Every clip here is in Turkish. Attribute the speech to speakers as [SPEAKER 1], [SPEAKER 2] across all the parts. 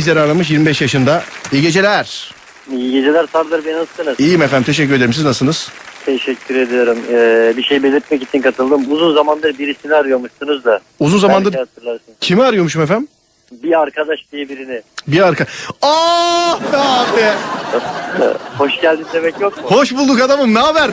[SPEAKER 1] bizleri aramış 25 yaşında. İyi geceler.
[SPEAKER 2] İyi geceler Sardar Bey nasılsınız?
[SPEAKER 1] İyiyim efendim teşekkür ederim. Siz nasılsınız?
[SPEAKER 2] Teşekkür ediyorum. Ee, bir şey belirtmek için katıldım. Uzun zamandır birisini arıyormuşsunuz da.
[SPEAKER 1] Uzun zamandır
[SPEAKER 2] Belki hatırlarsın.
[SPEAKER 1] kimi arıyormuşum efendim?
[SPEAKER 2] Bir arkadaş diye birini.
[SPEAKER 1] Bir arka. Aa be abi.
[SPEAKER 2] Hoş geldin demek yok mu?
[SPEAKER 1] Hoş bulduk adamım. Ne haber?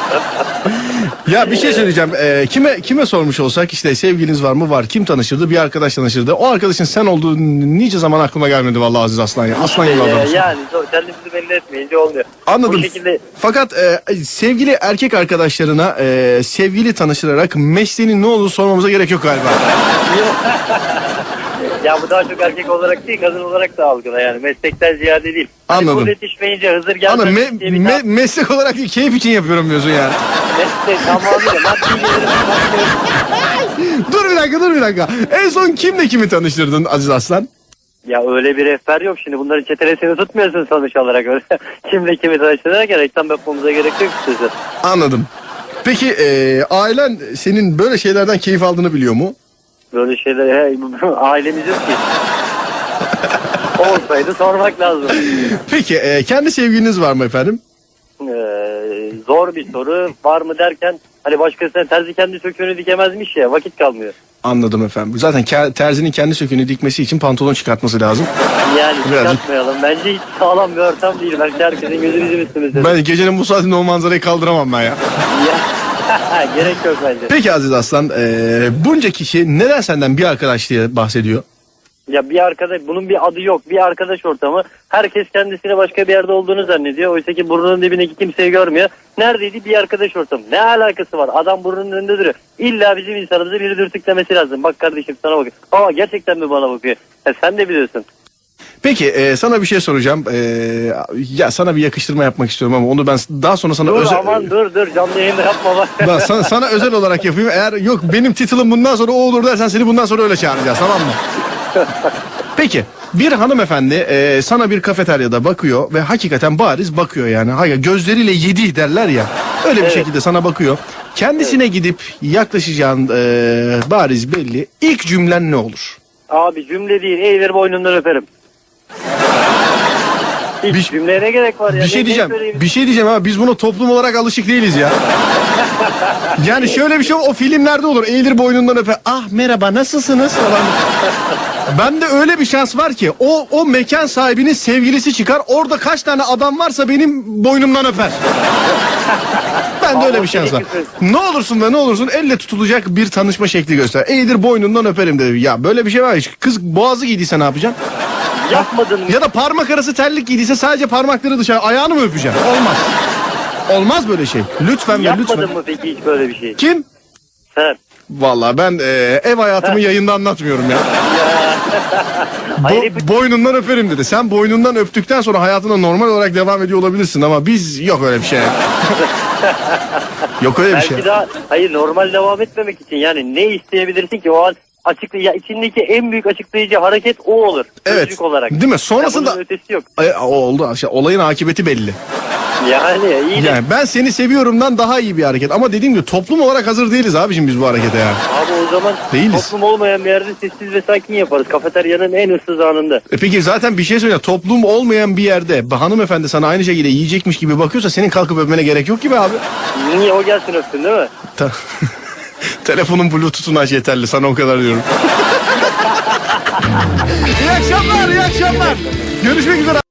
[SPEAKER 1] ya bir şey söyleyeceğim. Ee, kime kime sormuş olsak işte sevgiliniz var mı? Var. Kim tanışırdı? Bir arkadaş tanışırdı. O arkadaşın sen olduğu nice zaman aklıma gelmedi vallahi Aziz Aslan ya. Aslan gibi
[SPEAKER 2] Ee,
[SPEAKER 1] adamsın.
[SPEAKER 2] yani zor. Kendimizi belli etmeyince olmuyor.
[SPEAKER 1] Anladım.
[SPEAKER 2] Bu şekilde
[SPEAKER 1] Fakat e, sevgili erkek arkadaşlarına e, sevgili tanıştırarak mesleğinin ne olduğunu sormamıza gerek yok galiba.
[SPEAKER 2] ya bu daha çok erkek olarak değil kadın olarak da algıla yani meslekten ziyade değil.
[SPEAKER 1] Anladım.
[SPEAKER 2] Hani bu yetişmeyince Hızır
[SPEAKER 1] Ana
[SPEAKER 2] gelmemiş
[SPEAKER 1] me-
[SPEAKER 2] diye bir
[SPEAKER 1] me- meslek olarak değil, keyif için yapıyorum diyorsun yani.
[SPEAKER 2] meslek tamamıyla maddi gelirim, maddi-
[SPEAKER 1] dur bir dakika dur bir dakika. En son kimle kimi tanıştırdın Aziz Aslan?
[SPEAKER 2] Ya öyle bir rehber yok şimdi bunların çetelesini tutmuyorsun sonuç olarak öyle. Kimle kimi tanıştırarak ya reklam yapmamıza gerek yok size.
[SPEAKER 1] Anladım. Peki e, ailen senin böyle şeylerden keyif aldığını biliyor mu?
[SPEAKER 2] Böyle şeyler he, ailemiz yok ki. Olsaydı sormak lazım.
[SPEAKER 1] Peki e, kendi sevgiliniz var mı efendim?
[SPEAKER 2] Ee, zor bir soru var mı derken hani başkasına terzi kendi söküğünü dikemezmiş ya vakit kalmıyor.
[SPEAKER 1] Anladım efendim. Zaten ke- terzinin kendi söküğünü dikmesi için pantolon çıkartması lazım.
[SPEAKER 2] Yani
[SPEAKER 1] Birazcık.
[SPEAKER 2] çıkartmayalım. Bence hiç sağlam bir ortam değil. Belki herkesin gözü bizim üstümüzde.
[SPEAKER 1] Ben gecenin bu saatinde o manzarayı kaldıramam ben ya.
[SPEAKER 2] Ya, Gerek yok bence.
[SPEAKER 1] Peki Aziz Aslan, e, bunca kişi neden senden bir arkadaş diye bahsediyor?
[SPEAKER 2] Ya bir arkadaş, bunun bir adı yok. Bir arkadaş ortamı. Herkes kendisini başka bir yerde olduğunu zannediyor. Oysa ki burnunun dibindeki kimseyi görmüyor. Neredeydi? Bir arkadaş ortamı. Ne alakası var? Adam burnunun önünde duruyor. İlla bizim insanımızı biri dürtüklemesi lazım. Bak kardeşim sana bakıyor. Aa gerçekten mi bana bakıyor? Ya sen de biliyorsun.
[SPEAKER 1] Peki e, sana bir şey soracağım. E, ya sana bir yakıştırma yapmak istiyorum ama onu ben daha sonra sana
[SPEAKER 2] Dur
[SPEAKER 1] özel...
[SPEAKER 2] aman dur dur canlı yayında yapma bak.
[SPEAKER 1] Ben sana, sana özel olarak yapayım. Eğer yok benim title'ım bundan sonra o olur dersen seni bundan sonra öyle çağıracağız tamam mı? Peki bir hanımefendi e, sana bir kafeteryada bakıyor ve hakikaten bariz bakıyor yani. Hayır gözleriyle yedi derler ya. Öyle bir
[SPEAKER 2] Evet.
[SPEAKER 1] şekilde sana bakıyor. Kendisine gidip yaklaşacağın e, bariz belli. İlk cümlen ne olur?
[SPEAKER 2] Abi cümle değil. Eğilir boynundan öperim. Hiç
[SPEAKER 1] Bir-
[SPEAKER 2] cümleye ne gerek var ya?
[SPEAKER 1] Bir şey
[SPEAKER 2] Ne- ne
[SPEAKER 1] diyeceğim.
[SPEAKER 2] söyleyeyim?
[SPEAKER 1] Bir şey diyeceğim ama biz buna toplum olarak alışık değiliz ya. Yani şöyle bir şey o filmlerde olur. Eğilir boynundan öpe. Ah merhaba nasılsınız falan. Ben de öyle bir şans var ki o o mekan sahibinin sevgilisi çıkar. Orada kaç tane adam varsa benim boynumdan öper. Ben de öyle bir şans var. Ne olursun ve ne olursun elle tutulacak bir tanışma şekli göster. Eğilir boynundan öperim dedi. Ya böyle bir şey var. ya. Kız boğazı giydiyse ne yapacaksın?
[SPEAKER 2] Yapmadın mı?
[SPEAKER 1] Ya da parmak arası terlik giydiyse sadece parmakları dışarı ayağını mı öpeceğim? Olmaz. Olmaz böyle şey. Lütfen ve lütfen.
[SPEAKER 2] Yapmadın mı peki hiç böyle bir şey?
[SPEAKER 1] Kim?
[SPEAKER 2] Sen.
[SPEAKER 1] Vallahi ben e, ev hayatımı yayında anlatmıyorum ya.
[SPEAKER 2] Hayır,
[SPEAKER 1] Bo- boynundan öperim dedi. Sen boynundan öptükten sonra hayatına normal olarak devam ediyor olabilirsin ama biz yok öyle bir şey. yok öyle bir
[SPEAKER 2] belki
[SPEAKER 1] şey.
[SPEAKER 2] daha hayır normal devam etmemek için yani ne isteyebilirsin ki o an açıklı ya içindeki en büyük açıklayıcı hareket o olur.
[SPEAKER 1] Evet.
[SPEAKER 2] Çocuk olarak.
[SPEAKER 1] Değil mi? Sonrasında-
[SPEAKER 2] Ya bunun ötesi yok.
[SPEAKER 1] E, o oldu. İşte olayın akıbeti belli.
[SPEAKER 2] Yani iyi de
[SPEAKER 1] Yani ben seni seviyorumdan daha iyi bir hareket. Ama dediğim gibi toplum olarak hazır değiliz abicim biz bu harekete yani.
[SPEAKER 2] abi o zaman
[SPEAKER 1] Değiliz.
[SPEAKER 2] toplum olmayan bir yerde sessiz ve sakin yaparız. Kafeteryanın en ıssız anında.
[SPEAKER 1] E peki zaten bir şey söyle toplum olmayan bir yerde bir hanımefendi sana aynı şekilde yiyecekmiş gibi bakıyorsa senin kalkıp öpmene gerek yok gibi abi.
[SPEAKER 2] Niye o gelsin öpsün değil mi?
[SPEAKER 1] Ta- Telefonun bluetooth'unu aç yeterli sana o kadar diyorum. iyi akşamlar iyi akşamlar. Görüşmek üzere.